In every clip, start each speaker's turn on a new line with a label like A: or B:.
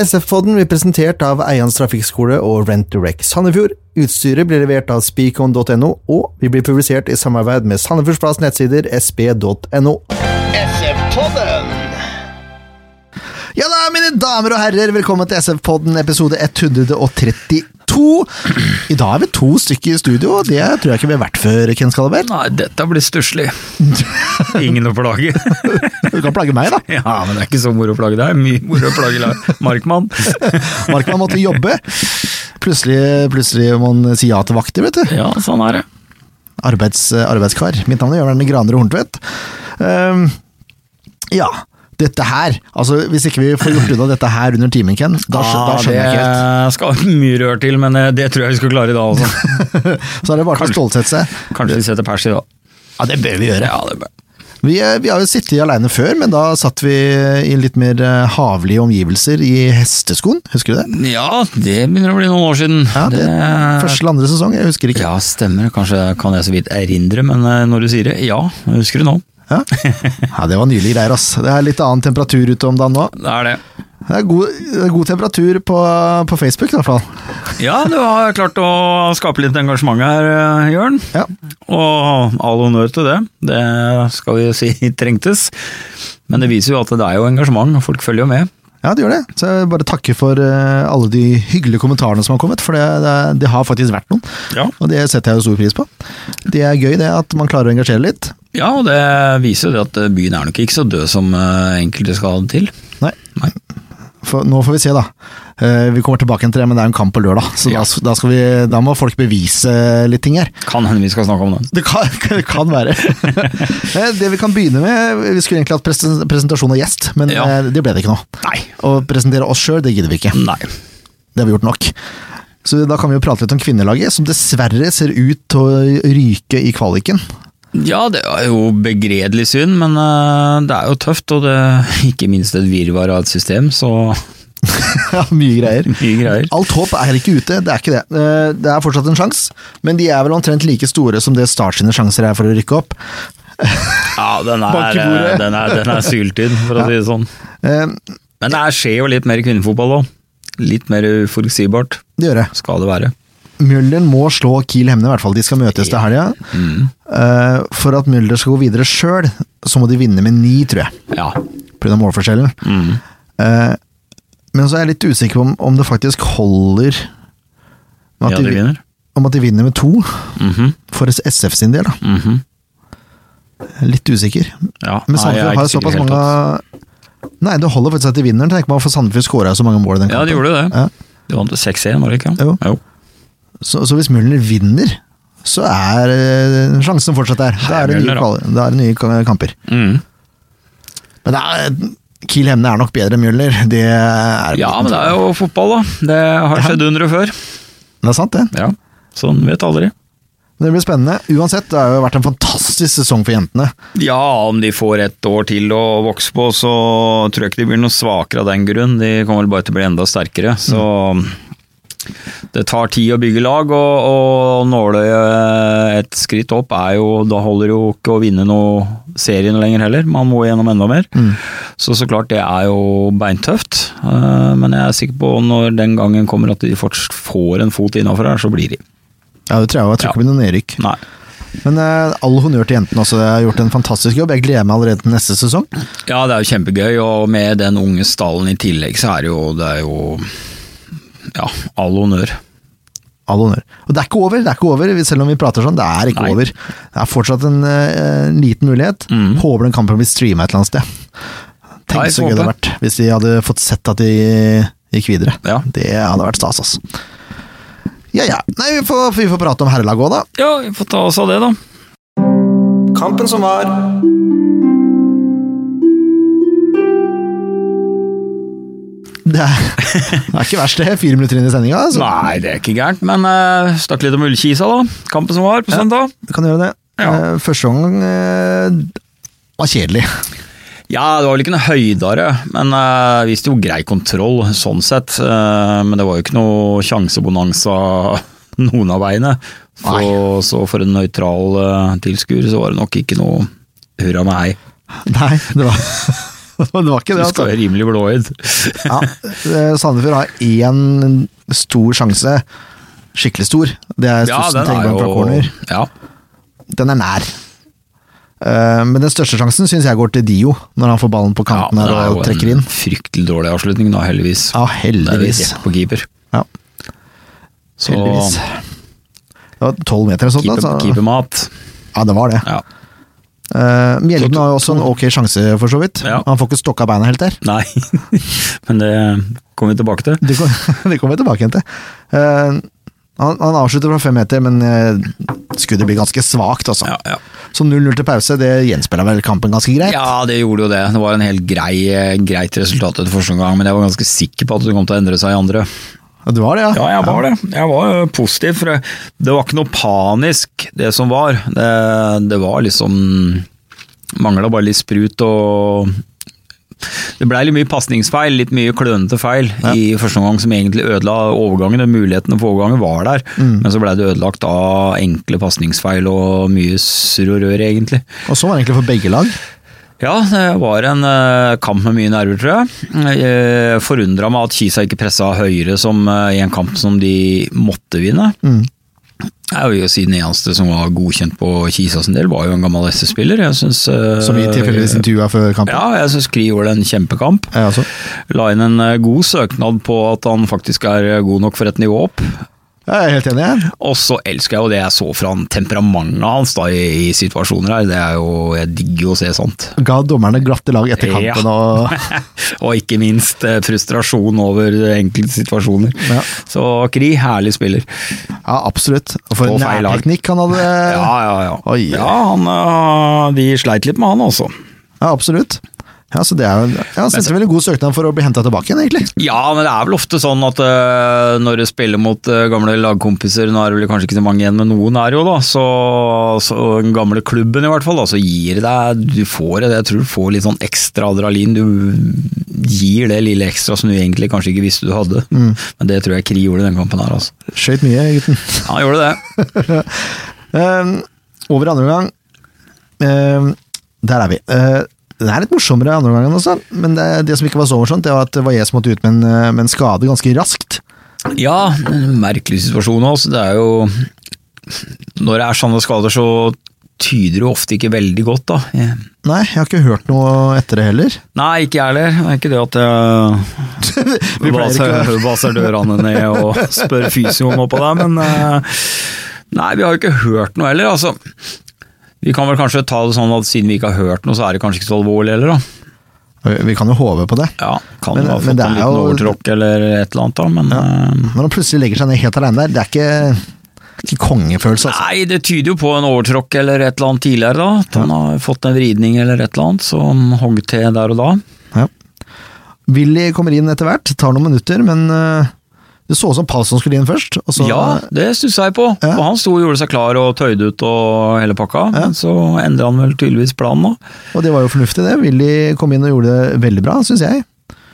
A: SF-podden blir presentert av Eians Trafikkskole og Rent Direct Sandefjord. Utstyret blir levert av speakon.no, og vi blir publisert i samarbeid med Sandefjordsplass nettsider sp.no.
B: SF-podden!
A: Ja da, mine damer og herrer, velkommen til SF-podden episode 132. I dag er vi to stykker i studio, og det tror jeg ikke vi har vært før, Ken Skalleberg.
C: Nei, dette blir stusslig. Ingen å plage.
A: Du kan plage meg, da.
C: Ja, men det er ikke så moro å plage deg. Mye moro å plage la- Markmann.
A: Markmann måtte jobbe. Plutselig, plutselig må han si ja til vakter, vet du.
C: Ja, sånn er det.
A: Arbeids, eh, arbeidskar. Mitt navn er Jørgen Graner Horntvedt. Ehm, ja, dette her. Altså, hvis ikke vi får gjort unna dette her under timen, Ken, da, skjø- da skjønner jeg ikke helt.
C: Ah, Det skal mye rør til, men eh, det tror jeg vi skal klare i dag også.
A: Så er det bare til å
C: Kanskje-
A: stålsette seg.
C: Kanskje vi setter pers i dag.
A: Ja, det bør vi gjøre.
C: Ja, det bør.
A: Vi, eh, vi har jo sittet alene før, men da satt vi i litt mer eh, havlige omgivelser i hesteskoen. Husker du det?
C: ja, det begynner å bli noen år siden.
A: Ja, det, Første eller andre sesong, jeg husker ikke.
C: Ja, stemmer. Kanskje kan jeg så vidt erindre, men eh, når du sier det, ja, jeg husker det nå.
A: Ja. ja, Det var nylig greier, ass. Det er litt annen temperatur ute om dagen nå.
C: Det er det.
A: Det er god, det er god temperatur på, på Facebook, i hvert fall.
C: Ja, du har klart å skape litt engasjement her, eh, Jørn.
A: Ja.
C: Og all honnør til det. Det skal vi jo si trengtes. Men det viser jo at det er jo engasjement, og folk følger jo med.
A: ja, det gjør det. Så jeg vil bare takke for eh, alle de hyggelige kommentarene som har kommet, for det, det, det har faktisk vært noen.
C: Ja.
A: Og det setter jeg jo stor pris på. Det er gøy det, at man klarer å engasjere litt.
C: ja, og det viser jo det at byen er nok ikke så død som eh, enkelte skal ha det til.
A: Nei,
C: Nei.
A: for, nå får vi se, da. Eh, vi kommer tilbake igjen til det, men det er jo en kamp på lørdag, så
C: Ja.
A: da, da, skal vi, da må folk bevise litt ting her.
C: Kan hende vi skal snakke om det.
A: Det kan, det kan være. Eh, det vi kan begynne med Vi skulle egentlig hatt presen- presentasjon av gjest, men
C: Ja.
A: eh, det ble det ikke nå.
C: Nei.
A: Å presentere oss sjøl, det gidder vi ikke.
C: Nei.
A: Det har vi gjort nok. Så da kan vi jo prate litt om kvinnelaget, som dessverre ser ut til å ryke i kvaliken.
C: Ja, det er jo begredelig synd, men eh, det er jo tøft, og det ikke minst et virvar av et system, så
A: Ja, Mye greier.
C: mye greier.
A: Alt håp er ikke ute, det er ikke det. Eh, Det er fortsatt en sjanse, men de er vel omtrent like store som det Start sine sjanser er for å rykke opp.
C: Ja, den
A: Bank
C: er,
A: i bordet.
C: eh, den er, den er syltynn, for å si det sånn.
A: Eh,
C: Men det skjer jo litt mer kvinnefotball òg. Litt mer uforutsigbart
A: Det gjør det.
C: skal det være.
A: Mjølner må slå Kiel Hemne, i hvert fall. De skal møtes til helga. Eh, For at Mjølner skal gå videre sjøl, så må de vinne med ni, tror jeg.
C: Ja.
A: pga. målforskjellen.
C: Mm.
A: Eh, men så er jeg litt usikker på om, om det faktisk holder med at
C: Ja, de
A: vin-
C: vinner.
A: om at de vinner med to,
C: Mhm,
A: for SF sin del. da.
C: mhm.
A: Litt usikker.
C: Ja,
A: Men
C: nei, jeg er
A: Sandefjord har jo
C: ikke
A: såpass
C: sikker i det
A: mange
C: hele
A: Nei, det holder faktisk at de vinner, tenker man, for Sandefjord skåra så mange mål i den
C: tatt. Ja, de gjorde det.
A: Ja.
C: De vant 6-1, var det ikke?
A: Jo. Så, så hvis Mjølner vinner, så er eh, sjansen fortsatt der. Da er det nye,
C: Mjølner, da.
A: kval- da er det nye ka- kamper.
C: Mm.
A: Men det er, Kiel Hemne er nok bedre enn Mjølner. Det er
C: ja, men det er jo fotball, da. Det har skjedd under og før.
A: Det er sant, det.
C: Ja. Sånn vet aldri.
A: Det blir spennende. Uansett, det har jo vært en fantastisk sesong for jentene.
C: Ja, om de får ett år til å vokse på, så tror jeg ikke de blir noe svakere av den grunn. De kommer vel bare til å bli enda sterkere. Så det tar tid å bygge lag, og, og nåløyet et skritt opp er jo Da holder det jo ikke å vinne noe serien lenger heller, man må gjennom enda mer. Så så klart, det er jo beintøft. eh, Men jeg er sikker på når den gangen kommer at de fortsatt får en fot innafor her, så blir de.
A: Ja, det tror jeg, jeg tror ikke det blir noe nedrykk.
C: Nei.
A: Men eh, all honnør til jentene også, de har gjort en fantastisk jobb. Jeg gleder meg allerede til neste sesong.
C: Ja, det er jo kjempegøy, og med den unge stallen i tillegg, så er det jo, det er jo Ja, all honnør.
A: All honnør. Og det er ikke over, det er ikke over, selv om vi prater sånn. Det er ikke
C: Nei.
A: over. Det er fortsatt en, eh, en liten mulighet. Håper den kampen blir streama et eller annet sted.
C: Ja,
A: Tenk
C: jeg
A: så
C: får
A: gøy det hadde
C: håpe.
A: vært hvis de hadde fått sett at de gikk videre.
C: Ja.
A: Det hadde vært stas, altså. Ja ja. Nei, vi får, vi får prate om herrelaget òg, da.
C: Ja, vi får ta oss av det, da.
B: Kampen som var.
A: Det er, det er ikke verst, det. Fire minutter inn i sendinga. Altså.
C: Nei, det er ikke gærent, men uh, snakk litt om Ullkisa, da. Kampen som var på søndag.
A: Du kan gjøre det.
C: Ja.
A: Eh, Første gang eh, var kjedelig.
C: Ja, det var vel ikke noe høydere, men uh, viste jo grei kontroll sånn sett. Eh, men det var jo ikke noe sjansebonanza noen av veiene.
A: Nei.
C: Så, så for en eh, nøytral uh, tilskuer så var det nok ikke noe hurra med hei.
A: Nei, det var, Men det var ikke
C: Du
A: det, altså.
C: skal være rimelig blåøyd.
A: Ja, eh, Sandefjord har én stor sjanse, skikkelig stor. Det er
C: Ja,
A: Stussen
C: den er
A: Tengberg fra
C: jo
A: corner.
C: ja.
A: Den er nær. Eh, Men den største sjansen syns jeg går til Dio, når han får ballen på
C: ja,
A: kanten
C: det er
A: her og
C: jo
A: trekker
C: en
A: inn.
C: fryktelig dårlig avslutning, da, heldigvis.
A: Ja,
C: Det er jo
A: heldigvis.
C: rett på keeper.
A: Ja,
C: Så
A: heldigvis. Det var tolv meter eller sånt.
C: keeper,
A: da, så-
C: keepermat.
A: Ja, det var det.
C: Ja.
A: Eh, Mjelden har jo også en ok sjanse, for så vidt.
C: Ja.
A: Han får ikke stokka beina helt der.
C: Nei, men det kommer vi tilbake til.
A: Det kom- det kommer jeg tilbake igjen til. Eh, han, han avslutter fra fem meter, men eh, skuddet blir ganske svakt, altså.
C: Ja, ja.
A: Så 0-0 til pause, det gjenspeiler vel kampen ganske greit?
C: Ja, det gjorde jo det. Det var en helt grei, eh, greit resultat etter første omgang, men jeg var ganske sikker på at det kom til å endre seg i andre.
A: Det var det, ja.
C: Ja, jeg var det. Jeg var eh, positiv, for det- det var ikke noe panisk, det som var. Det, det var liksom Mangla bare litt sprut og Det blei litt mye pasningsfeil, litt mye klønete feil i første omgang som egentlig ødela overgangen. og Mulighetene for overgangen var der, men så blei det ødelagt av enkle pasningsfeil og mye surr og rør, egentlig.
A: Og så var det egentlig for begge lag.
C: Ja, det var en eh, kamp med mye nerver, tror jeg. Uh, Forundra meg at Kisa ikke pressa høyere som, eh, i en kamp som de måtte vinne.
A: Mm.
C: Jeg vil jo si Den eneste som var godkjent på Kisa sin del, var jo en gammel SS-spiller. Jeg synes, eh,
A: Som vi tilfeldigvis intervjua før kampen.
C: Ja, jeg syns Kri gjorde en kjempekamp.
A: Jeg også.
C: La inn en eh, god søknad på at han faktisk er eh, god nok for et nivå opp.
A: Jeg er helt enig. jeg.
C: Og så elsker jeg jo det jeg så fra han, temperamentet hans da, i, i situasjoner her. Det er jo, Jeg digger jo å se sånt.
A: Ga dommerne glatte lag etter
C: Ja.
A: kampen og
C: og ikke minst eh, frustrasjon over enkelte situasjoner.
A: Ja.
C: Så Kri, herlig spiller.
A: Ja, absolutt. Og For
C: På
A: en
C: feil lag.
A: nærteknikk han hadde.
C: Ja, ja, ja.
A: Oi.
C: ja han, eh, de sleit litt med han også.
A: Ja, absolutt. Ja, så det er jo, ja, Han sendte vel en god søknad for å bli henta tilbake igjen, egentlig.
C: Ja, men det er vel ofte sånn at eh, når du spiller mot eh, gamle lagkompiser, nå er det vel kanskje ikke så mange igjen, men noen er jo da, så, så den gamle klubben i hvert fall, da, så gir det deg, du får det, jeg tror du får litt sånn ekstra adrenalin, du gir det lille ekstra som du egentlig kanskje ikke visste du hadde,
A: Mm.
C: men det tror jeg Kri gjorde i den kampen her, altså.
A: Skøyt mye, gutten.
C: Ja, han gjorde det.
A: Ehm, over andre omgang Ehm, Der er vi. Eh, det er litt morsommere andre omgangen også, men det, det som ikke var så morsomt, det var at Valles måtte ut med en, eh, med en skade ganske raskt.
C: Ja, en merkelig situasjon også. Det er jo Når det er sånne skader, så tyder det jo ofte ikke veldig godt, da.
A: Nei, jeg har ikke hørt noe etter det heller.
C: Nei, ikke jeg heller. Det er ikke det at jeg
A: Vi pleier ikke
C: baser, baser dørene ned og spør fysioen oppå der, men eh, Nei, vi har jo ikke hørt noe heller, altså. Vi kan vel kanskje ta det sånn at siden vi ikke har hørt noe, så er det kanskje ikke så alvorlig heller, da.
A: å- Vi kan jo håpe på det.
C: Ja, kan
A: Men-
C: jo ha
A: men
C: fått
A: det
C: en
A: er
C: liten
A: jo-
C: overtråkk eller et eller annet, da, men eh,
A: Når han plutselig legger seg ned helt alene der, det er ikke, ikke kongefølelse, altså.
C: Nei, det tyder jo på en overtråkk eller et eller annet tidligere, da. At han har fått en vridning eller et eller annet som hogg til der og da.
A: Ja. Willy kommer inn etter hvert, tar noen minutter, men eh, det så ut som Palsson skulle inn først. Og så,
C: ja, det stussa jeg på.
A: Ja.
C: Og han sto og gjorde seg klar og tøyde ut og hele pakka. Men så endra han vel tydeligvis planen, da.
A: Og det var jo fornuftig, det. Willy kom inn og gjorde det veldig bra, syns jeg.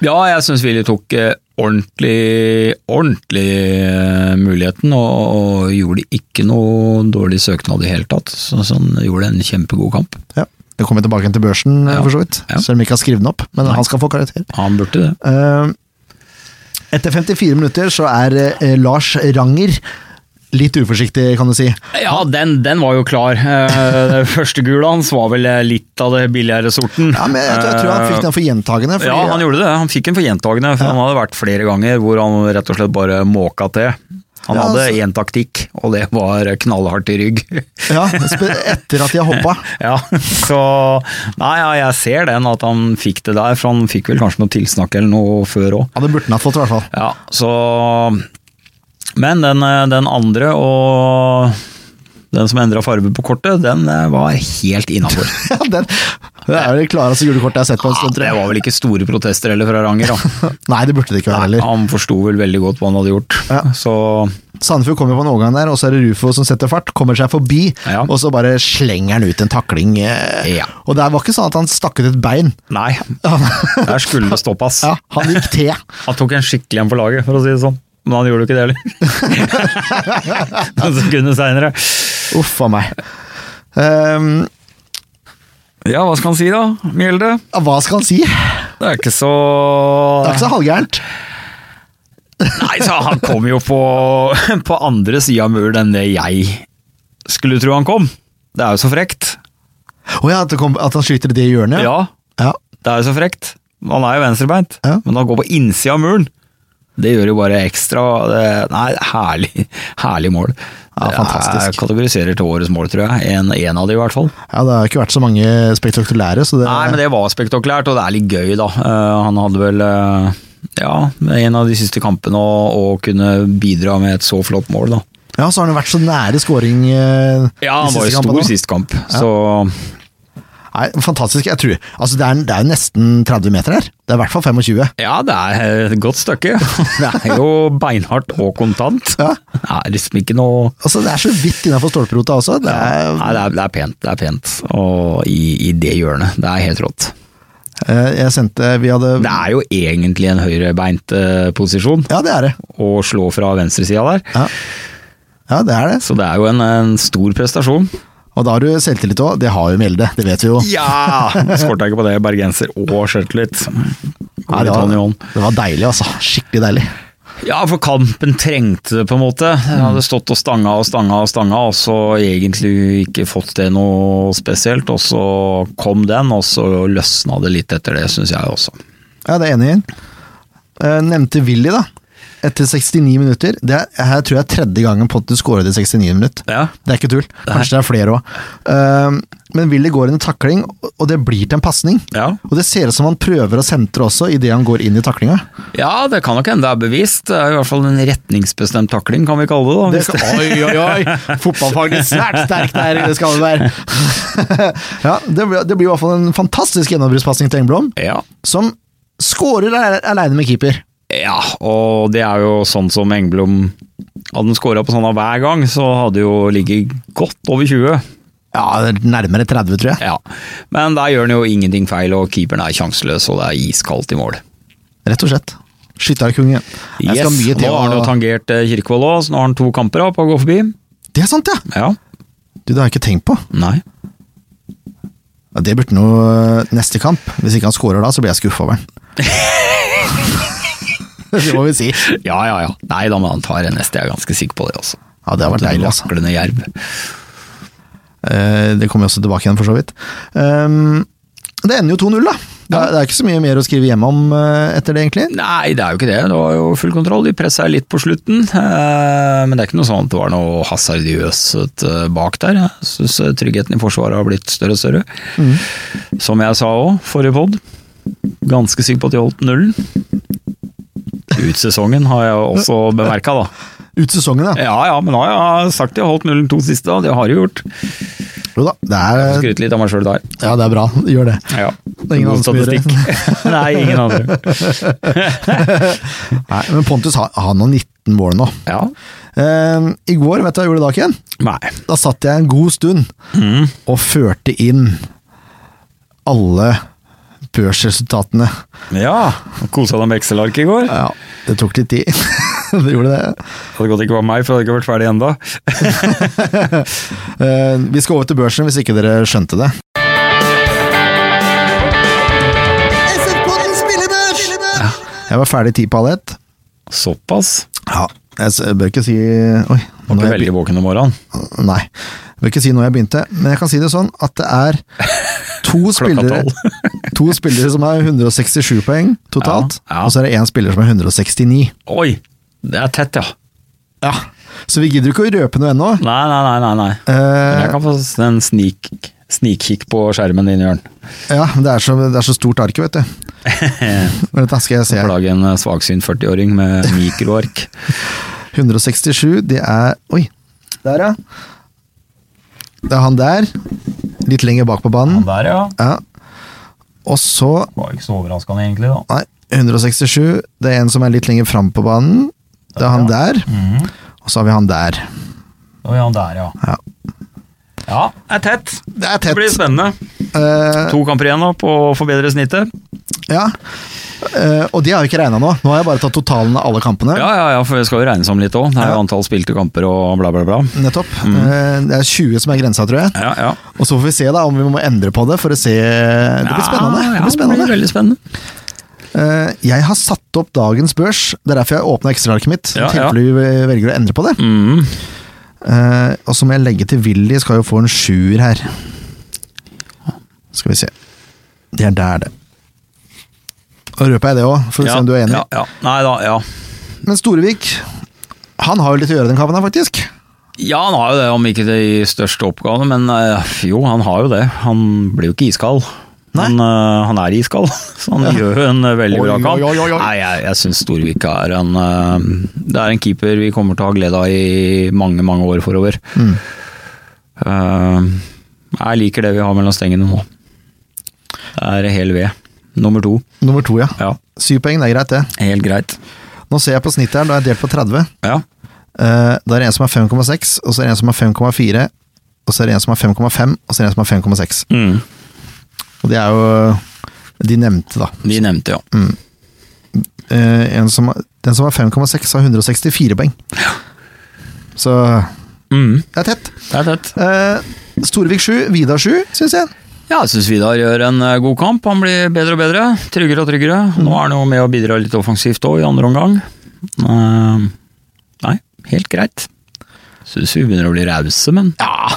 C: Ja, jeg syns Willy tok eh, ordentlig, ordentlig eh, muligheten, og, og gjorde ikke noe dårlig søknad i hele tatt. Så, så han gjorde en kjempegod kamp.
A: Ja. Det kommer jeg tilbake til børsen,
C: Ja.
A: for så vidt.
C: Ja.
A: Selv om jeg ikke har skrevet den opp, men han skal få karakter.
C: Han burde det.
A: Eh, etter 54 minutter så er eh, Lars Ranger litt uforsiktig, kan du si.
C: Ja, den, den var jo klar. Eh, Første gula hans var vel eh, litt av det billigere sorten. Eh,
A: Ja, men jeg, tror- jeg tror han fikk den for gjentagende. fordi-
C: Ja, han gjorde det. Han fikk en for gjentagende. For Han hadde vært flere ganger hvor han rett og slett bare måka til. Han
A: Ja,
C: hadde
A: altså-
C: én taktikk, og det var knallhardt i rygg.
A: Ja, spe- etter at de har hoppa.
C: Ja, så Nei, ja, jeg ser den, at han fikk det der. For han fikk vel kanskje noe tilsnakk eller noe før òg.
A: Ja, det burde han ha fått, i hvert fall.
C: Ja, så Men den, eh, den andre og den som endra farge på kortet, den eh, var helt innafor.
A: Ja, den, det er jo det klareste gule kortet jeg har sett på en
C: Ja,
A: stund, tror
C: det
A: jeg.
C: var vel ikke store protester heller fra Ranger. Da.
A: Nei, det burde det ikke være heller.
C: Han forsto vel veldig godt hva han hadde gjort.
A: Ja.
C: Så
A: Sandefjord kommer på en overgang der, og så er det Rufo som setter fart, kommer seg forbi,
C: Ja.
A: og så bare slenger han ut en takling. eh,
C: Ja.
A: Og der var ikke sånn at han stakk ut et bein.
C: nei, der skulle det stoppes.
A: Ja, han gikk til.
C: Han tok en skikkelig en på laget, for å si det sånn. Men han gjorde jo ikke det heller. Noen sekunder seinere.
A: Uff a meg. Ehm,
C: Ja, hva skal han si da, Mjelde?
A: hva skal han si?
C: Det er ikke så
A: Det er ikke så halvgærent.
C: Nei, så han kom jo på, på andre sida av muren enn det jeg skulle tro han kom. Det er jo så frekt.
A: Å ja, at, det kom, at han skyter i det hjørnet?
C: Ja,
A: ja.
C: det er jo så frekt. Han er jo venstrebeint,
A: Ja.
C: men han går på innsida av muren. Det gjør jo bare ekstra det, Nei, herlig, herlig mål.
A: Ja, fantastisk.
C: Jeg kategoriserer til årets mål, tror jeg. En, en av de, i hvert fall.
A: Ja, Det har ikke vært så mange spektakulære, så det,
C: Nei, men det var spektakulært, og det er litt gøy, da. Eh, han hadde vel eh, ja, en av de siste kampene å, å kunne bidra med et så flott mål, da.
A: Ja, så har han vært så nære scoring eh, de
C: Ja, han var
A: siste
C: jo
A: kampene
C: stor
A: også.
C: sist kamp, så
A: Nei, fantastisk. Jeg tror Altså, det er, det er nesten 30 meter her. Det er i hvert fall 25.
C: ja, det er et godt stykke. Det er jo beinhardt og kontant.
A: Ja.
C: Det er liksom ikke noe
A: Altså, det er så vidt innafor stolperota også. Det er,
C: Nei, det er, det er pent, det er pent. Og i, i det hjørnet. Det er helt rått.
A: eh, jeg sendte Vi hadde
C: Det er jo egentlig en høyrebeint eh, posisjon
A: Ja, det er det.
C: å slå fra venstresida der,
A: Ja. ja, det er det.
C: så det er jo en, en stor prestasjon.
A: Og da har du selvtillit òg. Det har jo Mjelde, det vet vi jo.
C: Ja! Skorta ikke på det, bergenser og skjørtlitt.
A: Nei, det, var, det var deilig, altså. Skikkelig deilig.
C: Ja, for kampen trengte det, på en måte. Jeg hadde stått og stanga og stanga og stanga, og så egentlig ikke fått til noe spesielt. Og så kom den, og så løsna det litt etter det, syns jeg også.
A: Ja, det er jeg enig i. Eh, Nevnte Willy, da. Etter 69 minutter. Det er, her tror jeg er tredje gangen Pontus skåret i 69 minutt.
C: Ja.
A: Det er ikke tull. Kanskje det er flere òg. Men Willy går inn i takling, og det blir til en pasning.
C: Ja.
A: Og det ser ut som han prøver å sentre også, idet han går inn i taklinga.
C: Ja, det kan nok hende det er bevisst. Det er i hvert fall en retningsbestemt takling, kan vi kalle det. da.
A: Det
C: hvis
A: skal, oi, oi, oi! Fotballfaglig svært sterk der, det skal det være. ja, det blir, det blir i hvert fall en fantastisk gjennombruddspasning til Engblom,
C: det- Ja.
A: som skårer ale- aleine med keeper.
C: ja, og det er jo sånn som Engblom Hadde han scora på sånne hver gang, så hadde jo ligget godt over 20.
A: Ja, det er nærmere 30, tror jeg.
C: Ja, Men der gjør han jo ingenting feil, og keeperen er sjanseløs, og det er iskaldt i mål.
A: Rett og slett. Skytterkongen. Jeg
C: Yes,
A: skal mye til
C: Nå har han jo
A: å-
C: tangert eh, Kirkevold òg, så nå har han to kamper da, på å gå forbi.
A: Det er sant, ja!
C: Ja,
A: Du, det har jeg ikke tenkt på.
C: nei.
A: Ja, det burde noe neste kamp. Hvis ikke han scorer da, så blir jeg skuffa over han. det må vi si.
C: Ja, ja, ja. Nei da, men han tar en neste, jeg er ganske sikker på det også.
A: Ja, det har vært deilig, altså.
C: Vaklende jerv.
A: Eh, Det kommer jo også tilbake igjen, for så vidt. Um, Det ender jo 2-0, da. Det er, det er ikke så mye mer å skrive hjemme om eh, etter det, egentlig.
C: Nei, det er jo ikke det. Det var jo full kontroll. De pressa litt på slutten. eh, Men det er ikke noe sånn at det var noe hasardiøst eh, bak der. Jeg syns tryggheten i Forsvaret har blitt større og større.
A: Mm.
C: Som jeg sa òg, forrige pod. Ganske sikker på at de holdt nullen. Ut sesongen har jeg også bemerka, da.
A: Ut sesongen, da.
C: Ja ja, men nå har jeg sagt de har holdt nullen to siste, da. Det har de gjort.
A: Jo da, det er,
C: Skryte litt av meg sjøl der.
A: ja, det er bra. Gjør det.
C: Ja.
A: er ingen
C: God
A: andre som gjør det.
C: statistikk. Nei, ingen andre.
A: Nei, men Pontus har, han har 19 mål nå.
C: Ja.
A: Eh, I går, vet du hva jeg gjorde da, Ken?
C: Nei.
A: Da satt jeg en god stund og førte inn alle børsresultatene.
C: Ja. Kosa deg med Excel-arket i går?
A: Ja, det tok litt tid. det gjorde det.
C: Hadde godt det ikke var meg, for jeg hadde ikke vært ferdig ennå.
A: Eh, vi skal over til børsen hvis ikke dere skjønte det. Jeg var ferdig ti på halv ett.
C: Såpass.
A: Ja, jeg s- bør ikke si Oi.
C: Var
A: nå
C: ikke
A: er jeg
C: veldig våken om morgenen.
A: be- Nei. Jeg bør ikke si når jeg begynte, men jeg kan si det sånn at det er to spillere To spillere som har 167 poeng totalt,
C: Ja, ja.
A: og så er det én spiller som har 169.
C: Oi! Det er tett, ja.
A: Ja. Så vi gidder ikke å røpe noe ennå.
C: Nei, nei, nei. nei, nei. Men
A: Eh,
C: Jeg kan få en snik, snikkikk på skjermen din, Jørn.
A: ja, men det er, så, det er så stort ark, vet du. Men dette skal jeg se.
C: Plage en eh, svaksynt 40-åring med mikroark.
A: 167, det er Oi! Der, ja. Det er han der. Litt lenger bak på banen.
C: Der, ja.
A: Ja. Og så
C: Var ikke så overraskende, egentlig, da.
A: Nei, 167. Det er en som er litt lenger fram på banen. Det er han der.
C: Mhm.
A: Og så har vi han der.
C: Å ja, der, ja.
A: Ja.
C: Ja, det er tett.
A: Det er
C: Det blir
A: tett.
C: spennende.
A: Eh,
C: To kamper igjen da, på å forbedre snittet.
A: ja. Eh, og det har jeg ikke regna nå. Nå har jeg bare tatt totalen av alle kampene.
C: Ja, ja, ja, for det skal jo regnes om litt òg. Det er jo
A: Ja.
C: antall spilte kamper og bla, bla, bla.
A: Nettopp.
C: Mhm.
A: Eh, det er 20 som er grensa, tror jeg.
C: Ja, ja.
A: Og så får vi se da om vi må endre på det for å se Det blir spennende.
C: Ja,
A: Det
C: ja,
A: blir
C: det blir
A: spennende.
C: veldig spennende.
A: Eh, Jeg har satt opp dagens børs. Det er derfor jeg åpna ekstraarket mitt.
C: Ja, ja.
A: Tilfelle vi velger å endre på det.
C: Mm.
A: Eh, og så må jeg legge til Willy skal jo få en sjuer her. Skal vi se. Det er der, det. Da røper jeg det òg, for å se om du er enig.
C: Ja, ja. Nei da, ja.
A: Men Storevik, han har jo litt å gjøre den kampen her, faktisk.
C: Ja, han har jo det, om ikke det i største oppgave, men eh, jo, han har jo det. Han blir jo ikke iskald.
A: Nei.
C: Men eh, han er iskald, så han gjør jo en eh, veldig
A: Oi,
C: bra kamp.
A: oi, oi, oi.
C: Nei, jeg, jeg syns Storvik er en eh, Det er en keeper vi kommer til å ha glede av i mange, mange år forover.
A: Mm.
C: Eh, jeg liker det vi har mellom stengene nå. Det er hel ved. Nummer to.
A: Nummer to, ja.
C: Ja,
A: Syv poeng, det er greit, det.
C: helt greit.
A: Nå ser jeg på snittet her, da er jeg delt på 30.
C: Ja.
A: Eh, da er det en som er 5,6, og så er det en som er 5,4, og så er det en som er 5,5, og så er det en som er 5,6.
C: Mm.
A: Og det er jo de nevnte, da.
C: De nevnte, ja.
A: Eh, en som, den som har 5,6 har 164 poeng. Så
C: Mm.
A: det er tett.
C: Det er tett.
A: Eh, Storvik 7, Vidar 7, syns jeg.
C: Ja, jeg syns Vidar gjør en eh, god kamp. Han blir bedre og bedre. Tryggere og tryggere.
A: Mm.
C: Nå er han jo med og bidrar litt offensivt òg, i andre omgang. Eh, nei, helt greit. Syns vi begynner å bli rause, men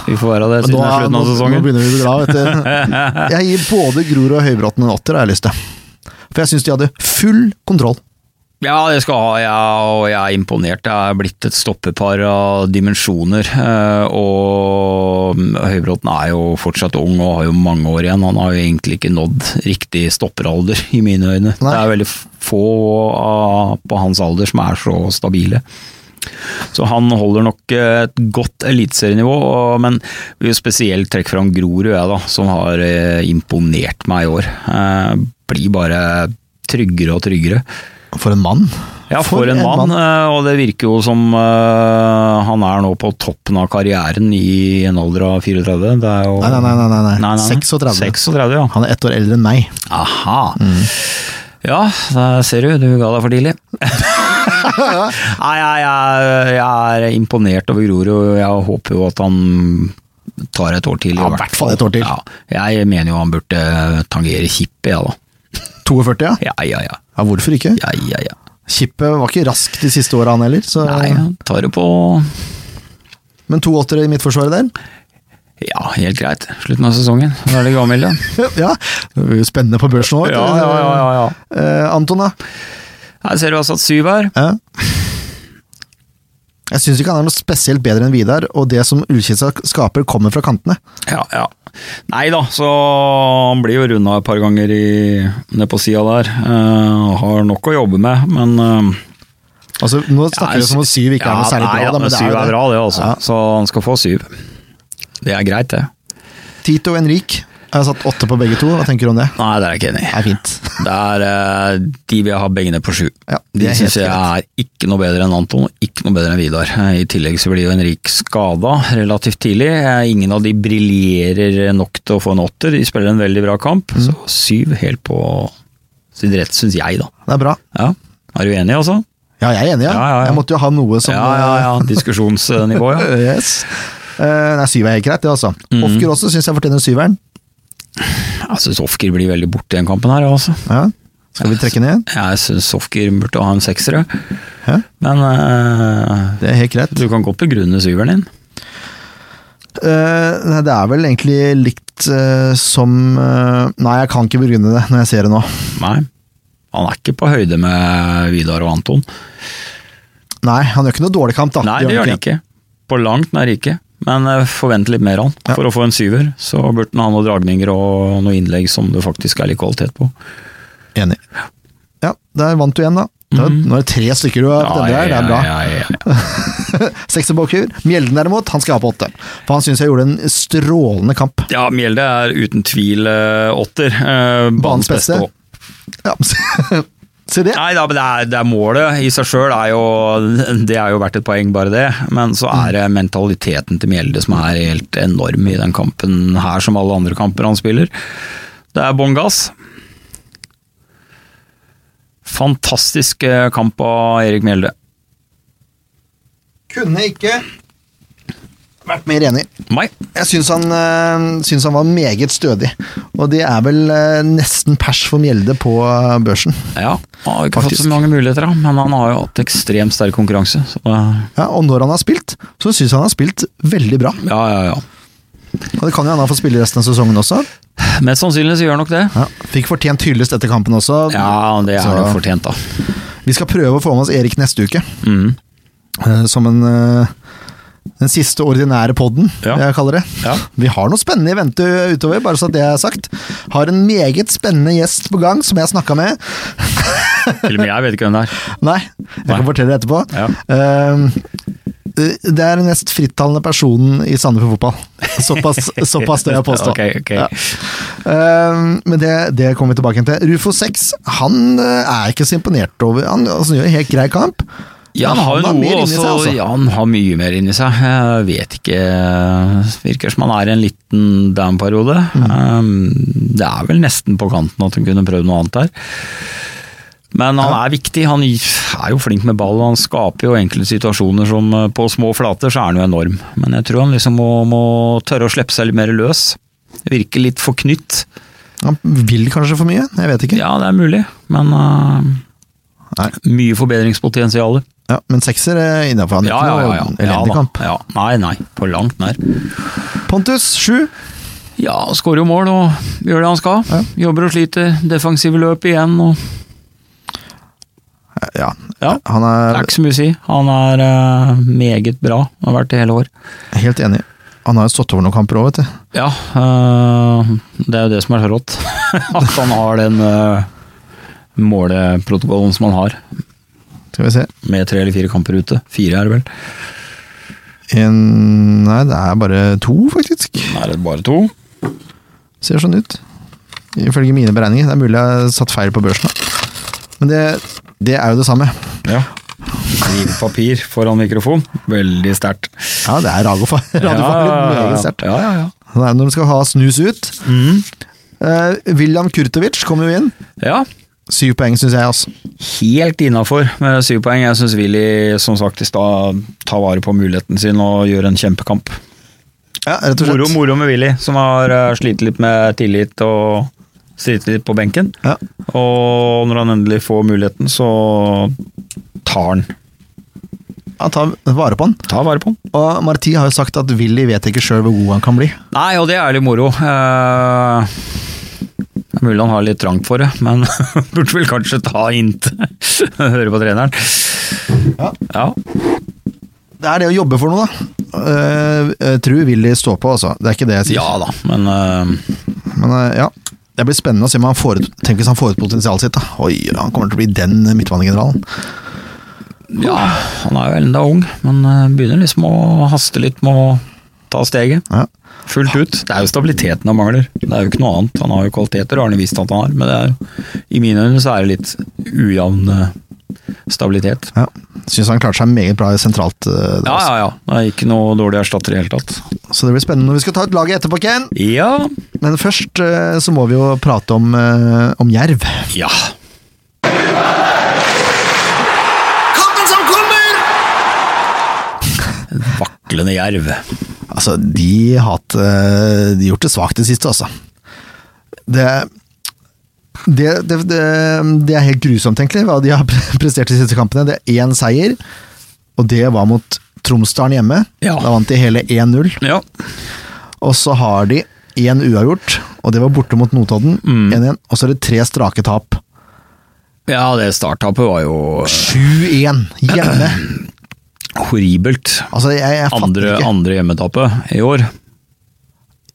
C: vi får være det
A: Men
C: siden
A: nå,
C: det er slutten
A: nå,
C: av
A: nå
C: sesongen.
A: begynner vi å bli glad, vet du. Jeg gir både Grorud og Høybråten en åtter, har jeg lyst til. For jeg syns de hadde full kontroll.
C: Ja, det skal ha, ja, og jeg er imponert. Det er blitt et stoppepar av dimensjoner. eh, Og mm, Høybråten er jo fortsatt ung og har jo mange år igjen. Han har jo egentlig ikke nådd riktig stopperalder, i mine øyne.
A: Nei.
C: Det er veldig få av, på hans alder som er så stabile. Så han holder nok eh, et godt eliteserienivå, og- men vil jo spesielt trekke fram Grorud, jeg da, som har eh, imponert meg i år. Eh, Blir bare tryggere og tryggere.
A: For en mann.
C: Ja, for, en, mann, eh, og det virker jo som eh, han er nå på toppen av karrieren i en alder av 34. Det er jo
A: Nei, nei, nei. nei, nei, nei. 36.
C: 36, ja.
A: Han er ett år eldre enn meg.
C: Aha.
A: Mm.
C: Ja, der ser du, du ga deg for tidlig. Nei, jeg, jeg, jeg er imponert over Grorud, og jeg håper jo at han tar et år til.
A: Ja, i hvert fall et år til.
C: Ja, jeg mener jo han burde tangere kippet, jeg ja, da.
A: 42, ja.
C: Ja, ja, ja.
A: ja. Hvorfor ikke?
C: ja, ja, ja.
A: Kippet var ikke rask de siste åra, han heller. Så,
C: Nei, han tar det på
A: Men to åttere i midtforsvaret der?
C: Ja, helt greit. Slutten av sesongen. Da er det gammel, da.
A: ja. Det blir jo Spennende på børsen òg. Eh, Anton, da?
C: Her ser du altså at syv her.
A: Ja. Jeg syns ikke han er noe spesielt bedre enn Vidar, og det som Ullkisa skaper, kommer fra kantene.
C: Ja, ja. Nei da, så han blir jo runda et par ganger i, ned på sida der. Eh, har nok å jobbe med, men eh,
A: Altså, nå snakker vi som om syv ikke er noe særlig
C: nei,
A: bra,
C: da,
A: da, men det er
C: syv
A: jo
C: er bra,
A: det.
C: det, altså.
A: Ja.
C: Så han skal få syv. Det er greit, det.
A: Tito og Henrik, jeg har satt åtte på begge to. Hva tenker du om det?
C: Nei, det er jeg ikke enig i.
A: Det er fint.
C: Det er eh, de vil jeg ha begge ned på sju.
A: Ja, det
C: de
A: er
C: syns
A: helt
C: jeg er ikke noe bedre enn Anton, og ikke noe bedre enn Vidar. Eh, I tillegg så blir jo Henrik skada relativt tidlig. Eh, Ingen av de briljerer nok til å få en åtter. De spiller en veldig bra kamp,
A: Mm.
C: så syv helt på sin rett, syns jeg, da.
A: Det er bra.
C: Ja. Er du enig, altså?
A: Ja, jeg er enig, ja.
C: Ja, ja, ja.
A: Jeg måtte jo ha noe som
C: ja, ja, ja. Diskusjonsnivå, ja.
A: Yes. Eh, nei, syv er helt greit, det, altså.
C: Mm.
A: Ofker også syns jeg fortjener syveren.
C: Jeg syns Ofker Altså, blir veldig borte i den kampen her, altså.
A: Ja. Skal vi trekke ned?
C: Jeg syns Ofker burde ha en seksere,
A: Ja.
C: men eh,
A: Det er helt greit.
C: du kan godt begrunne syveren din.
A: Eh, nei, det er vel egentlig likt eh, som eh, Nei, jeg kan ikke begrunne det når jeg ser det nå.
C: Nei. Han er ikke på høyde med Vidar og Anton.
A: Nei, han gjør ikke noe dårlig kamp, da.
C: Nei, det gjør han ikke. På langt nær ikke. Men eh, forvent litt mer av han.
A: Ja.
C: For å få en syver, så burde han ha noen dragninger og noen innlegg som det faktisk er litt kvalitet på.
A: Enig. Ja, der vant du igjen, da. Det var- Nå er det tre stykker du har fått endre her, det er bra.
C: Mhm. Ja, ja, ja.
A: Seks tilbakekur. Mjelden derimot, han skal ha på åtte. For han syns jeg gjorde en strålende kamp.
C: ja, Mjelde er uten tvil eh, åtter. Eh,
A: Banens
C: Banens
A: beste.
C: beste. også.
A: Ja. Se det.
C: Nei da, men det er, det er målet i seg sjøl. Det er jo verdt et poeng, bare det. Men så er det mentaliteten til Mjelde som er helt enorm i den kampen her, som alle andre kamper han spiller. Det er bånn gass. Fantastisk eh, kamp av Erik Mjelde.
A: Kunne ikke vært mer enig.
C: Mai.
A: Jeg syns han, eh, syns han var meget stødig, og det er vel eh, nesten pers for Mjelde på eh, børsen.
C: Ja, han har ikke
A: Faktisk.
C: fått så mange muligheter, da, men han har jo hatt ekstremt sterk konkurranse. Så, eh,
A: Ja, og når han har spilt, så syns han han har spilt veldig bra.
C: ja, ja, ja.
A: Og det kan jo hende han får spille resten av sesongen også.
C: Mest sannsynlig så gjør han nok det.
A: Ja, fikk fortjent hyllest etter kampen også.
C: Ja, det er
A: Så-
C: jo fortjent, da.
A: Vi skal prøve å få med oss Erik neste uke,
C: Mm.
A: eh, som en eh, den siste ordinære podden,
C: Ja.
A: jeg kaller det.
C: Ja.
A: Vi har noe spennende i vente utover, bare så det er sagt. Har en meget spennende gjest på gang, som jeg snakka med.
C: Til og med jeg vet ikke hvem det er.
A: Nei, jeg kan fortelle det etterpå.
C: Ja.
A: Ehm, det er den mest frittalende personen i Sandefjord fotball. Såpass, såpass tør jeg påstå.
C: Ok, ok.
A: Ja. Ehm, men det, det kommer vi tilbake til. Rufo 6 han eh, er ikke så imponert over Han altså, gjør en helt grei kamp.
C: Ja, han
A: Men
C: har jo noe
A: mer inni
C: også,
A: seg, altså.
C: ja, han har mye mer inni seg. Jeg vet ikke Virker som han er i en liten down-periode.
A: Mm.
C: Um, det er vel nesten på kanten at han kunne prøvd noe annet der. Men han er viktig. Han er jo flink med ball. Han skaper jo enkle situasjoner som eh, på små flater så er han jo enorm. Men jeg tror han liksom må, må tørre å slippe seg litt mer løs. Virke litt forknytt.
A: Han vil kanskje for mye, jeg vet ikke.
C: Ja, det er mulig, men eh,
A: Nei.
C: mye forbedringspotensial.
A: Ja, men sekser er innafor. Han
C: Ja,
A: ikke
C: ja, ja. ja.
A: noe
C: ja,
A: elendig
C: da.
A: kamp.
C: ja. Nei, nei, på langt nær.
A: Pontus 7.
C: Ja, skårer jo mål og gjør det han skal.
A: Ja.
C: Jobber og sliter, defensive løp igjen og
A: Ja,
C: Ja.
A: han
C: Det
A: er
C: er ikke så mye å si. Han er eh, meget bra, har vært det hele år.
A: helt enig. Han har jo stått over noen kamper òg, vet du.
C: Ja, eh, det er jo det som er så rått. At han har den eh, måleprotokollen som han har,
A: Skal vi se.
C: med tre eller fire kamper ute. Fire er det vel.
A: En, nei, det er bare to, faktisk.
C: Er det bare to?
A: Ser sånn ut. Ifølge mine beregninger. Det er mulig jeg har satt feil på børsen. da. Men det, det er jo det samme.
C: Ja. Skrive papir foran mikrofon. Veldig sterkt.
A: Ja, det er radiofaglig. Meget sterkt.
C: Ja, ja, ja.
A: Det er når de skal ha snus ut. Eh, William Kurtovic kommer jo inn.
C: ja.
A: Syv poeng, syns jeg. Altså.
C: Helt innafor med syv poeng. Jeg syns Willy som sagt i stad tar vare på muligheten sin og gjør en kjempekamp.
A: Ja, rett og slett.
C: Moro, moro med Willy, som har eh, slitt litt med tillit og slitt litt på benken.
A: Ja.
C: Og når han endelig får muligheten, så tar han.
A: Han tar vare på han.
C: Ta vare på han.
A: Og Marti har jo sagt at Willy vet ikke sjøl hvor god han kan bli.
C: Nei, og det er litt moro. Eh, Det er mulig han har litt trangt for det, men burde vel kanskje ta inntil høre på treneren.
A: Ja.
C: ja.
A: Det er det å jobbe for noe, da. Eh, jeg tror Willy står på, altså. Det er ikke det jeg sier.
C: Ja da, men eh,
A: Men eh, ja, det blir spennende å se om han får ut Tenk hvis han får ut potensialet sitt. da Oi, han kommer til å bli den midtbanegeneralen.
C: ja, han er jo enda ung, men eh, begynner liksom å haste litt med å ta steget.
A: Ja.
C: Fullt ut. Det er jo stabiliteten han mangler. Det er jo ikke noe annet. Han har jo kvaliteter, har han visst at han har, men det er, i mine øyne så er det litt ujevn eh, stabilitet.
A: Ja. Syns han klarte seg meget bra sentralt. eh, der
C: Ja, ja, ja. Det er ikke noe dårlig erstatter i det hele tatt.
A: også. Så det blir spennende når vi skal ta ut laget etterpå, Ken.
C: Ja.
A: Men først eh, så må vi jo prate om, eh, om Jerv.
C: Ja.
B: Kampen som kommer!
C: Vaklende jerv.
A: Altså, de har hatt, eh, de har gjort det svakt det siste, altså. Det det, det, det det er helt grusomt, egentlig, hva de har pre- prestert de siste kampene. Det er én seier, og det var mot Tromsdalen hjemme.
C: Ja.
A: Da vant de hele 1-0.
C: Ja.
A: Og så har de én uavgjort, og det var borte mot Notodden.
C: Mm.
A: 1-1, og så er det tre strake tap.
C: ja, det starttapet var jo
A: 7-1 hjemme!
C: horribelt.
A: Altså, jeg, jeg fatter
C: Andre,
A: ikke.
C: andre hjemmetapet i år.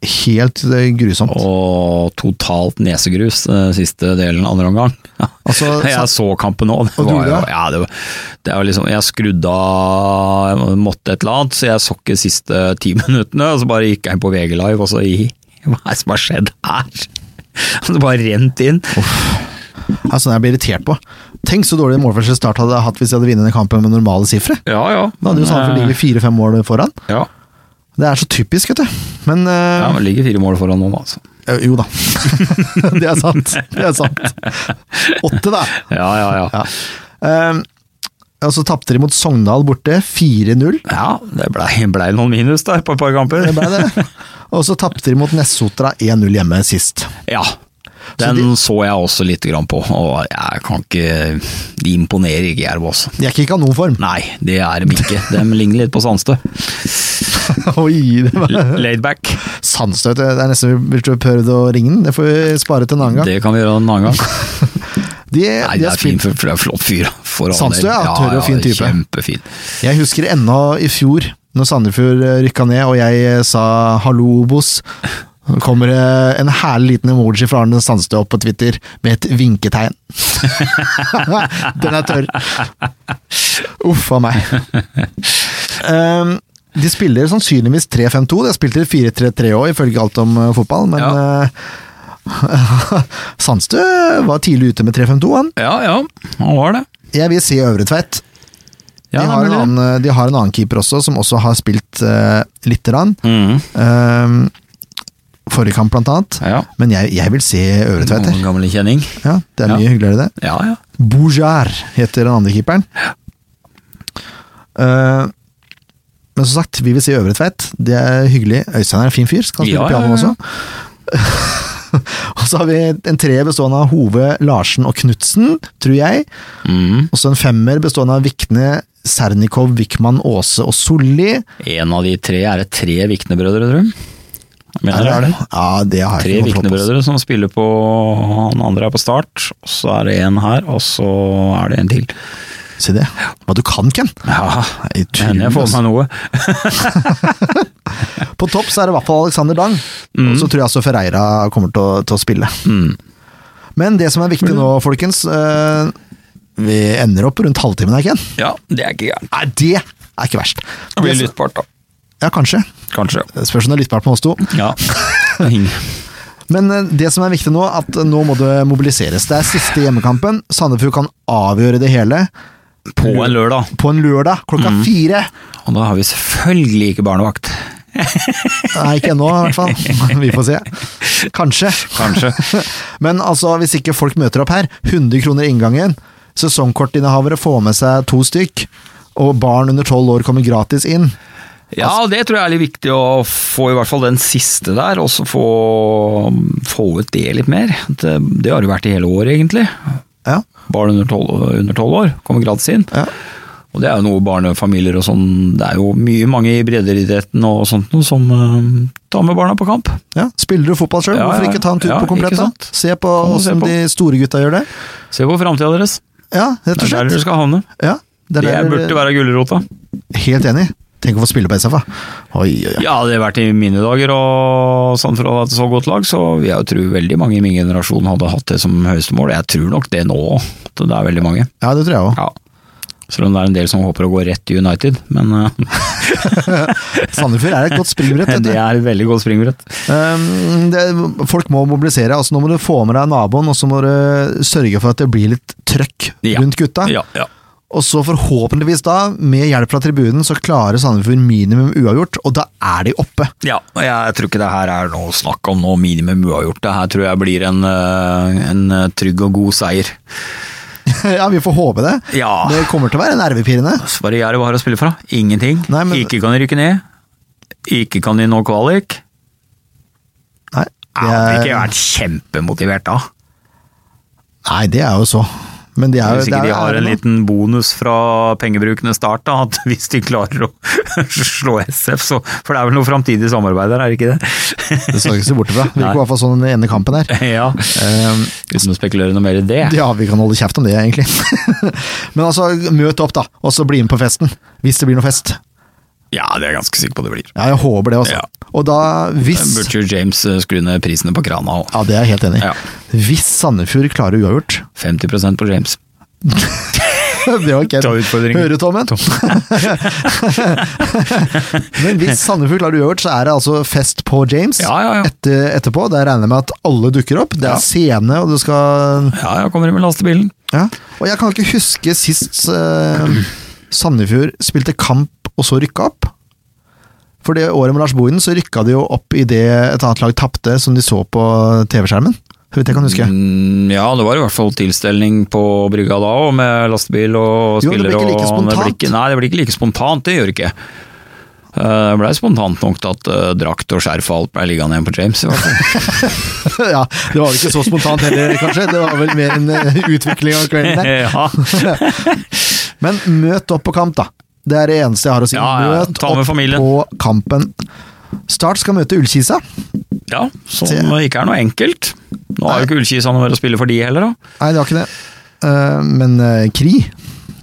A: Helt eh, grusomt.
C: og totalt nesegrus eh, siste delen andre omgang.
A: Altså,
C: jeg så kampen òg.
A: Og du gjorde det?
C: ja, det, var- det er jo liksom, jeg skrudde av, jeg måtte et eller annet, så jeg så ikke siste ti minuttene. Og så bare gikk jeg inn på VG Live, og så i, Hva er det som har skjedd her? Det bare rent inn.
A: Altså, jeg blir irritert på. Tenk så dårlig målforskjell Start hadde hatt hvis de hadde vunnet den kampen med normale sifre.
C: Ja, ja. Eh,
A: Da hadde jo Sandefjord ligget fire-fem mål foran.
C: ja.
A: Det er så typisk, vet du. Men eh,
C: ja, men det ligger fire mål foran nå, da. Altså.
A: Jo da. det er sant. Det er sant. Åtte, da.
C: Ja, ja, ja.
A: Ja. Eh, og så tapte de mot Sogndal borte, 4-0.
C: Ja, det blei ble noen minus der på et par kamper.
A: Det ble det. Og så tapte de mot Nessotra 1-0 hjemme sist.
C: Ja. Den så, jeg også lite grann på, og jeg kan ikke De imponerer ikke Jerv også.
A: De er ikke i kanonform.
C: Nei, det er de ikke. De ligner litt på Sandstø.
A: Oi, det var
C: Laid back.
A: Sandstøt, det er nesten vi burde prøvd å ringe den. Det får vi spare til en annen gang.
C: Det kan vi gjøre en annen gang.
A: De,
C: Nei,
A: de
C: det
A: har
C: er fin,
A: spilt
C: for for det er flott fyr. for all
A: Sandstø
C: del.
A: er tørr og fin type.
C: Kjempefin.
A: Jeg husker ennå i fjor, når Sandefjord rykka ned og jeg eh, sa 'hallo, Obos'. Så Kommer det en herlig liten emoji fra Arne Sandstø opp på Twitter med et vinketegn. Den er tørr. Uff a meg. Um, de spiller sannsynligvis 3-5-2. De har spilt i 4-3-3 òg, ifølge alt om eh, fotball, men eh, Sandstø var tidlig ute med 3-5-2, han.
C: Ja, ja, han var det.
A: Jeg vil si Øvre Tveit.
C: Ja,
A: de, har en
C: det er mulig.
A: annen, eh, de har en annen keeper også, som også har spilt uh, lite grann.
C: Mhm.
A: Ehm, forrige kamp, blant annet.
C: Ja.
A: Men jeg, jeg vil se Øvre Tveit. jeg.
C: Noen gamle kjenning.
A: Ja, det er mye
C: Ja.
A: hyggeligere, det.
C: Ja, ja.
A: Boujar heter den andre keeperen. Eh, men som sagt, vi vil si Øvre Tveit. Det er hyggelig. Øystein er en fin fyr, så kan han spille
C: Ja, ja,
A: piano
C: ja.
A: også. og så har vi en treer bestående av Hove, Larsen og Knutsen, tror jeg.
C: Mhm.
A: Også en femmer bestående av Vikne, Sernikov, Vikman, Aase og Solli.
C: En av de tre er det tre Vikne-brødre, tror jeg.
A: Er
C: Mener jeg.
A: det? Ja, det har
C: Tre
A: jeg ikke kontroll på.
C: Vikne-brødre som spiller på Han andre er på start, og så er det en her, og så er det en til.
A: Si det. Hva du kan, Ken!
C: Ja,
A: Nei,
C: det hender jeg får
A: utrolig,
C: meg noe.
A: altså. På topp så er det i hvert fall Alexander Dang.
C: Mm.
A: Og så tror jeg også Ferreira kommer til å, til å spille. Men det som er viktig nå, folkens eh, Vi ender opp rundt halvtimen her, Ken.
C: Ja, det er ikke gærent.
A: Nei, det er ikke verst.
C: Det
A: Det
C: blir
A: som-
C: lyttbart, da.
A: Ja, kanskje.
C: Kanskje.
A: Det Spørs om det er lyttbart med oss to.
C: Ja.
A: Men eh, det som er viktig nå, at eh, nå må det mobiliseres. Det er siste hjemmekampen. Sandefjord kan avgjøre det hele
C: På en lørdag.
A: på en lørdag klokka
C: Mm.
A: fire.
C: Og da har vi selvfølgelig ikke barnevakt.
A: Nei, ikke ennå, i hvert fall. Vi får se. Kanskje.
C: Kanskje.
A: Men altså, hvis ikke folk møter opp her, 100 kroner inngangen. Sesongkortinnehavere får med seg to stykk. Og barn under tolv år kommer gratis inn.
C: Ja, det tror jeg er litt viktig å få i hvert fall den siste der, og så få, få ut det litt mer. Det, det har det vært i hele år, egentlig.
A: Ja,
C: Barn under tolv- under tolv år kommer gratis inn.
A: ja.
C: Og det er jo noe barnefamilier og sånn Det er jo mye mange i breddeidretten og sånt noe som eh, tar med barna på kamp.
A: ja. Spiller du fotball sjøl,
C: Ja, ja,
A: hvorfor ikke ta en tur
C: ja,
A: på komplett?
C: ikke
A: da?
C: sant?
A: Se på
C: Kan du se
A: åssen
C: på.
A: de store gutta gjør det.
C: Se på framtida deres.
A: Ja, rett
C: Det
A: og
C: er der
A: slett.
C: dere skal havne.
A: Ja, det
C: Det
A: er
C: burde
A: der,
C: være gulrota.
A: helt enig. Tenk å få spille på SF, da. Oi, oi, oi.
C: Ja, det har vært i mine dager og sånn for å ha et så godt lag, så vil jeg jo tro veldig mange i min generasjon hadde hatt det som høyeste mål. Jeg tror nok det nå òg, at det er veldig mange.
A: Ja, det tror jeg òg.
C: Ja. Selv om det er en del som håper å gå rett til United, men eh,
A: Sandefjord er et godt springbrett. vet du.
C: det er et veldig godt springbrett.
A: Um, det, folk må mobilisere. altså Nå må du få med deg naboen, og så må du sørge for at det blir litt trøkk
C: Ja.
A: rundt gutta.
C: Ja, ja.
A: Og så forhåpentligvis da, med hjelp fra tribunen, så klarer Sandefjord minimum uavgjort, og da er de oppe.
C: Ja, og jeg tror ikke det her er noe snakk om noe minimum uavgjort. Det her tror jeg blir en, eh, en eh, trygg og god seier.
A: ja, vi får håpe det.
C: Ja.
A: Det kommer til å være nervepirrende.
C: Hva er det Jerv har å spille fra? Ingenting.
A: Nei, men-
C: Ikke kan de rykke ned. Ikke kan de nå kvalik.
A: Nei,
C: Jeg hadde ikke vært kjempemotivert da.
A: nei, det er jo så. Men det er jo
C: Hvis ikke
A: det er,
C: de
A: jo
C: har en
A: ærlig nå.
C: liten bonus fra pengebrukende start, da, at hvis de klarer å slå SF, så For det er vel noe framtidig samarbeid der, er det ikke det?
A: Det skal vi ikke se bort ifra. Vi
C: Nei.
A: går i hvert fall sånn i den ene kampen her.
C: ja.
A: Um,
C: Uten å spekulere noe mer i det.
A: Ja, vi kan holde kjeft om det, egentlig. Men altså, møt opp, da, og så bli med på festen. Hvis det blir noe fest.
C: Ja, det er jeg ganske sikker på det blir.
A: Ja, jeg håper det, altså.
C: Ja.
A: Og da, hvis
C: Burde jo James eh, skru ned prisene på krana òg.
A: Ja, det er jeg helt enig i.
C: Ja.
A: Hvis Sandefjord klarer uavgjort
C: 50 på James.
A: Det var ikke
C: Ta utfordringen.
A: Hører du, Tommen? Men hvis Sandefjord klarer uavgjort, så er det altså fest på James
C: Ja, ja, ja.
A: Etter, etterpå. Der regner jeg med at alle dukker opp. Det er
C: Ja.
A: scene, og du skal
C: Ja, jeg kommer inn med lastebilen.
A: ja. Og jeg kan ikke huske sist eh, Sandefjord spilte kamp og så rykka opp. For det året med Lars Bohinen så rykka de jo opp idet et annet lag tapte, som de så på TV-skjermen. så vidt jeg kan huske.
C: Mm, ja, det var i hvert fall tilstelning på brygga da òg, med lastebil og
A: Jo, men det
C: spillere.
A: blir ikke like
C: og- det blir
A: spontant.
C: ikke- Nei, det blir ikke like spontant, det gjør det ikke. Eh, Det blei spontant nok til at eh, drakt og skjerf og alt blei liggende igjen på James. i hvert fall.
A: ja, det var vel ikke så spontant heller, kanskje. Det var vel mer en eh, utvikling av kvelden der.
C: ja.
A: Men møt opp på kamp, da. Det er det eneste jeg har å si.
C: Ja, ja,
A: Møt
C: ta med
A: opp
C: familien.
A: på kampen. Start skal møte Ullkisa.
C: ja, som ikke er noe enkelt. Nå har jo ikke Ullkisa noe mer å spille for de heller, da.
A: Nei, det var ikke det. Eh, Men eh, Kri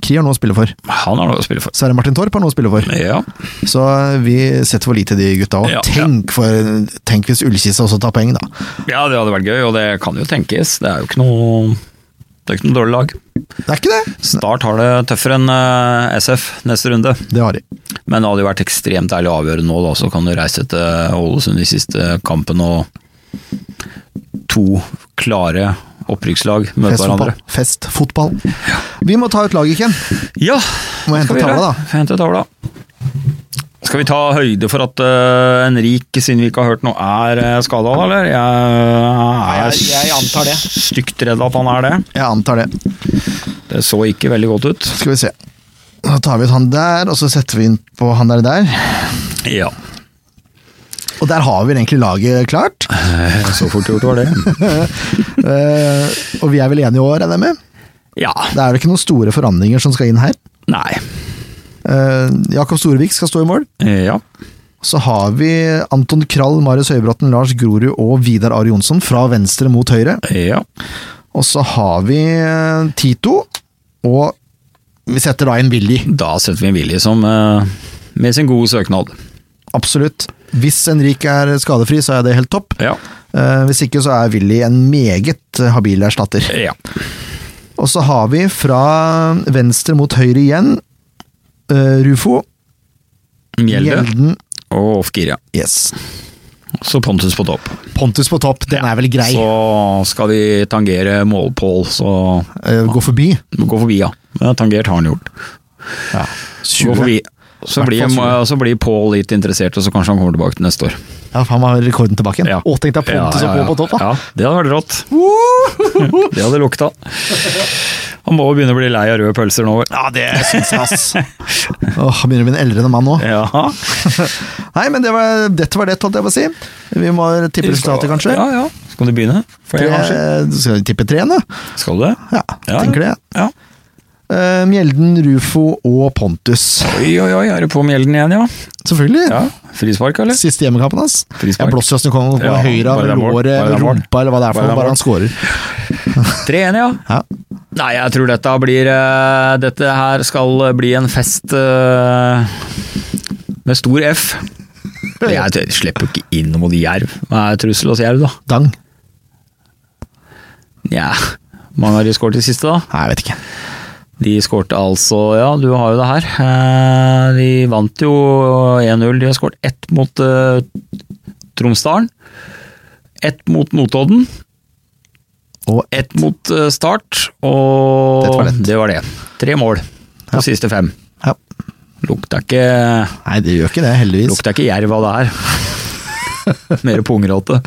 A: Kri har noe å spille for.
C: Han har noe å spille for.
A: Sverre Martin Torp har noe å spille for.
C: Ja.
A: Så vi setter for lite de gutta òg.
C: Ja, ja.
A: tenk, for- tenk hvis Ullkisa også tar poeng, da.
C: ja, det hadde vært gøy, og det kan jo tenkes. Det er jo ikke noe det er ikke noe dårlig lag.
A: Det er ikke det!
C: Start har det tøffere enn eh, SF neste runde.
A: Det har de.
C: Men det hadde jo vært ekstremt ærlig å avgjøre nå, da, så kan du reise til Ålesund i siste kampen og to klare opprykkslag møte
A: Festfotball.
C: hverandre.
A: Festfotball. Vi må ta ut laget, Ken.
C: Ja!
A: Må jeg hente
C: skal vi gjøre.
A: tavla, da?
C: Hente tavla. Skal vi ta høyde for at eh, Henrik, siden vi ikke har hørt noe, er skada, eller? Jeg,
D: Jeg- jeg antar det.
C: stygt redd at han er det.
A: Jeg antar det.
C: Det så ikke veldig godt ut.
A: Skal vi se. Da tar vi ut han der, og så setter vi inn på han der der.
C: Ja.
A: Og der har vi egentlig laget klart.
C: Så fort gjort var det.
A: Eh, og vi er vel enige i år, regner jeg med?
C: Ja.
A: Det er vel ikke noen store forandringer som skal inn her.
C: Nei.
A: Eh, Jakob Storvik skal stå i mål.
C: Ja.
A: Så har vi Anton Krall, Marius Høybråten, Lars Grorud og Vidar Ari Jonsson fra venstre mot høyre.
C: Ja.
A: Og så har vi eh, Tito, og vi setter da inn Willy.
C: Da setter vi en Willy som eh, med sin gode søknad.
A: Absolutt. Hvis Henrik er skadefri, så er det helt topp.
C: Ja.
A: Eh, hvis ikke, så er Willy en meget eh, habil erstatter.
C: ja.
A: Og så har vi fra venstre mot høyre igjen eh, Rufo.
C: Mjelde og Off-Gira.
A: Yes.
C: Så Pontus på topp.
A: Pontus på topp, den er vel grei.
C: Så skal vi tangere målpål, så
A: Eh, gå forbi.
C: gå forbi, ja. Men Tangert har han gjort. Gå
A: 20.
C: forbi. Så
A: Hvertfall
C: blir,
A: 20.
C: så blir Pål litt interessert, og så kanskje han kommer tilbake til neste år.
A: Ja, faen, han har rekorden tilbake igjen.
C: Ja.
A: Å, tenk deg Pontus
C: Ja, ja, ja.
A: og på på topp, da.
C: Ja, det hadde vært rått. Det hadde lukta. Han må jo begynne å bli lei av røde pølser nå, vel.
A: Ja, det syns jeg, ass. Åh, han begynner å bli en eldrende mann nå.
C: Ja.
A: Nei, men det var, dette var det, holdt jeg på å si. Vi må tippe resultatet, kanskje.
C: Ja, ja. Skal du begynne? For
A: Tre,
C: en gangs skyld.
A: skal vi tippe tre, da?
C: Skal du det?
A: Ja,
C: Ja,
A: tenker det.
C: ja.
A: Eh, Mjelden, Rufo og Pontus.
C: Oi, oi, oi, er det på Mjelden igjen, ja?
A: Selvfølgelig.
C: ja. Frispark, eller?
A: Siste hjemmekampen hans.
C: Frispark.
A: Jeg blåser oss når han kommer på
C: Ja,
A: høyre
C: bare det
A: med
C: er mål,
A: låret,
C: bare det er
A: med
C: mål.
A: rumpa eller hva det er for
C: Bare
A: noe,
C: det er
A: bare han scorer.
C: 3-1, ja.
A: Ja.
C: Nei, jeg tror dette blir eh, Dette her skal bli en fest eh, med stor F. Jeg t- slipper jo ikke inn mot Jerv. Hva er trussel hos Jerv, da?
A: Dang.
C: Nja, mange har de skåret i siste, da?
A: Nei, jeg vet ikke.
C: De skårte altså Ja, du har jo det her. Eh, De vant jo 1-0. De har skåret ett mot eh, Tromsdalen. Ett mot Notodden.
A: Og ett
C: Ett mot eh, Start. Og
A: Dette var lett.
C: det var det. Tre mål på siste fem.
A: ja.
C: Lukta ikke,
A: Nei, det gjør ikke det, heldigvis.
C: lukta ikke jerv av det her. Mer pungråte.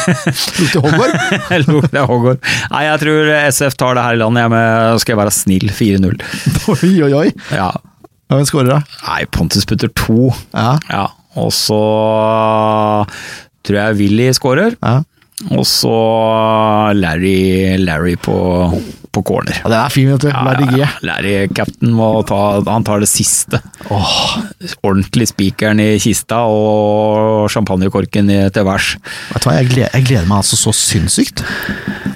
A: Lukter Hogwarts.
C: Lukta Hågård. Nei, jeg tror SF tar det her i landet. Jeg med, skal jeg være snill. 4-0.
A: Oi, oi, oi.
C: Ja.
A: Ja, Hvem scorer, da?
C: Nei, Pontus putter to.
A: Ja.
C: Ja, og så tror jeg Willy skårer.
A: ja.
C: Og så Larry, Larry på, på corner.
A: Ja, Den er fin, vet du. La det
C: Ja,
A: G.
C: ja, Larry captain må ta Han tar det siste.
A: Åh,
C: Ordentlig spikeren i kista og champagnekorken i- til værs.
A: vet du hva, jeg gleder, jeg gleder meg altså så sinnssykt.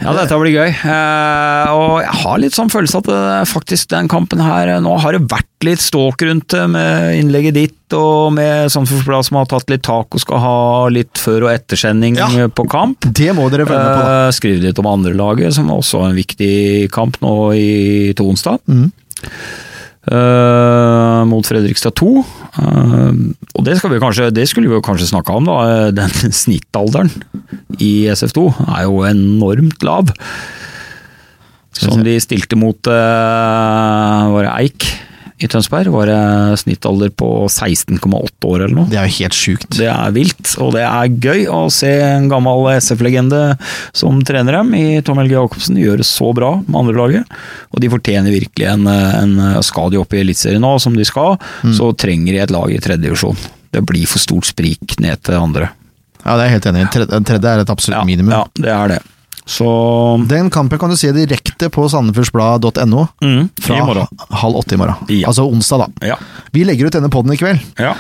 C: Ja, dette blir gøy. Eh, og jeg har litt sånn følelse at eh, faktisk den kampen her eh, Nå har det vært litt ståk rundt det med innlegget ditt og med Sandefjord Blad som har tatt litt tak og skal ha litt før- og ettersending
A: Ja.
C: eh, på kamp.
A: Det må dere følge med på, da.
C: Eh, Skriv litt om andre laget, som også er en viktig kamp nå i til onsdag.
A: Mm.
C: Eh, mot Fredrikstad 2. Eh, og det, skal vi kanskje, det skulle vi jo kanskje snakka om, da. Eh, Den snittalderen i SF2 er jo enormt lav. Som de stilte mot eh, var det Eik i Tønsberg var det snittalder på 16,8 år eller noe.
A: Det er jo helt sjukt.
C: Det er vilt, og det er gøy å se en gammel SF-legende som trener dem i Tom Helge Jacobsen gjøre det så bra med andre laget. Og de fortjener virkelig en, en Skal de opp i Eliteserien nå, som de skal, så trenger de et lag i tredje divisjon. Det blir for stort sprik ned til andre.
A: Ja, det er jeg helt enig i. Tredje, tredje er et absolutt
C: Ja,
A: minimum.
C: ja, det er det. Så
A: Den kampen kan du se direkte på sandefjordsblad.no
C: mm,
A: fra
C: i morgen.
A: halv åtte i morgen.
C: Ja.
A: Altså onsdag, da.
C: Ja.
A: Vi legger ut denne poden i kveld.
C: ja.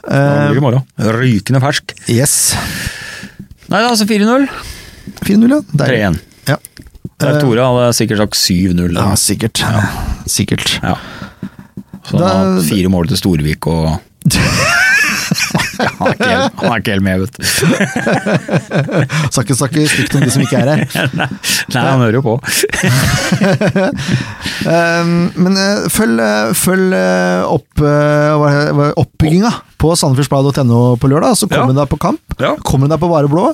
C: Det
A: Eh,
C: blir i morgen. Rykende fersk.
A: yes.
C: Nei, det er altså 4-0.
A: 4-0, ja. Deilig.
C: 3-1.
A: Ja.
C: Der
A: Eh,
C: Tore hadde sikkert sagt 7-0.
A: ja,
C: da.
A: sikkert. Sikkert.
C: Ja. Så
A: Da-
C: han har fire mål til Storvik og han, er ikke helt, han er ikke helt med, vet du.
A: Skal ikke snakke stygt om de som ikke er her.
C: Nei, nei, han hører jo på.
A: Eh, men eh, følg, eh, følg eh, opp, eh, hva- hva- oppbygginga på sandefjordsblad.no på lørdag, så kommer
C: Ja.
A: du deg på kamp.
C: Ja.
A: Kommer du deg på bare blå,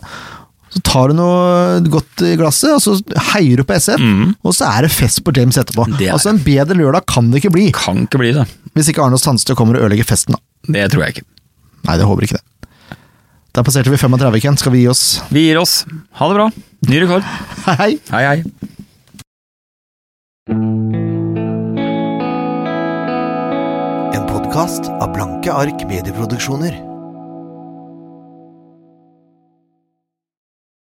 A: så tar du noe godt i glasset, og så heier du på SF, og så er det fest på James etterpå.
C: Mm. Det er
A: Altså En bedre lørdag kan det ikke bli,
C: Kan ikke bli det.
A: hvis ikke Arne Sandstø kommer og ødelegger festen. da.
C: Det tror jeg ikke.
A: Nei, det håper ikke det. Der passerte vi 35 igjen, skal vi gi oss?
C: Vi gir oss. Ha det bra. Ny rekord.
A: Hei, hei!
C: Hei, hei.
D: En podkast av Blanke ark medieproduksjoner.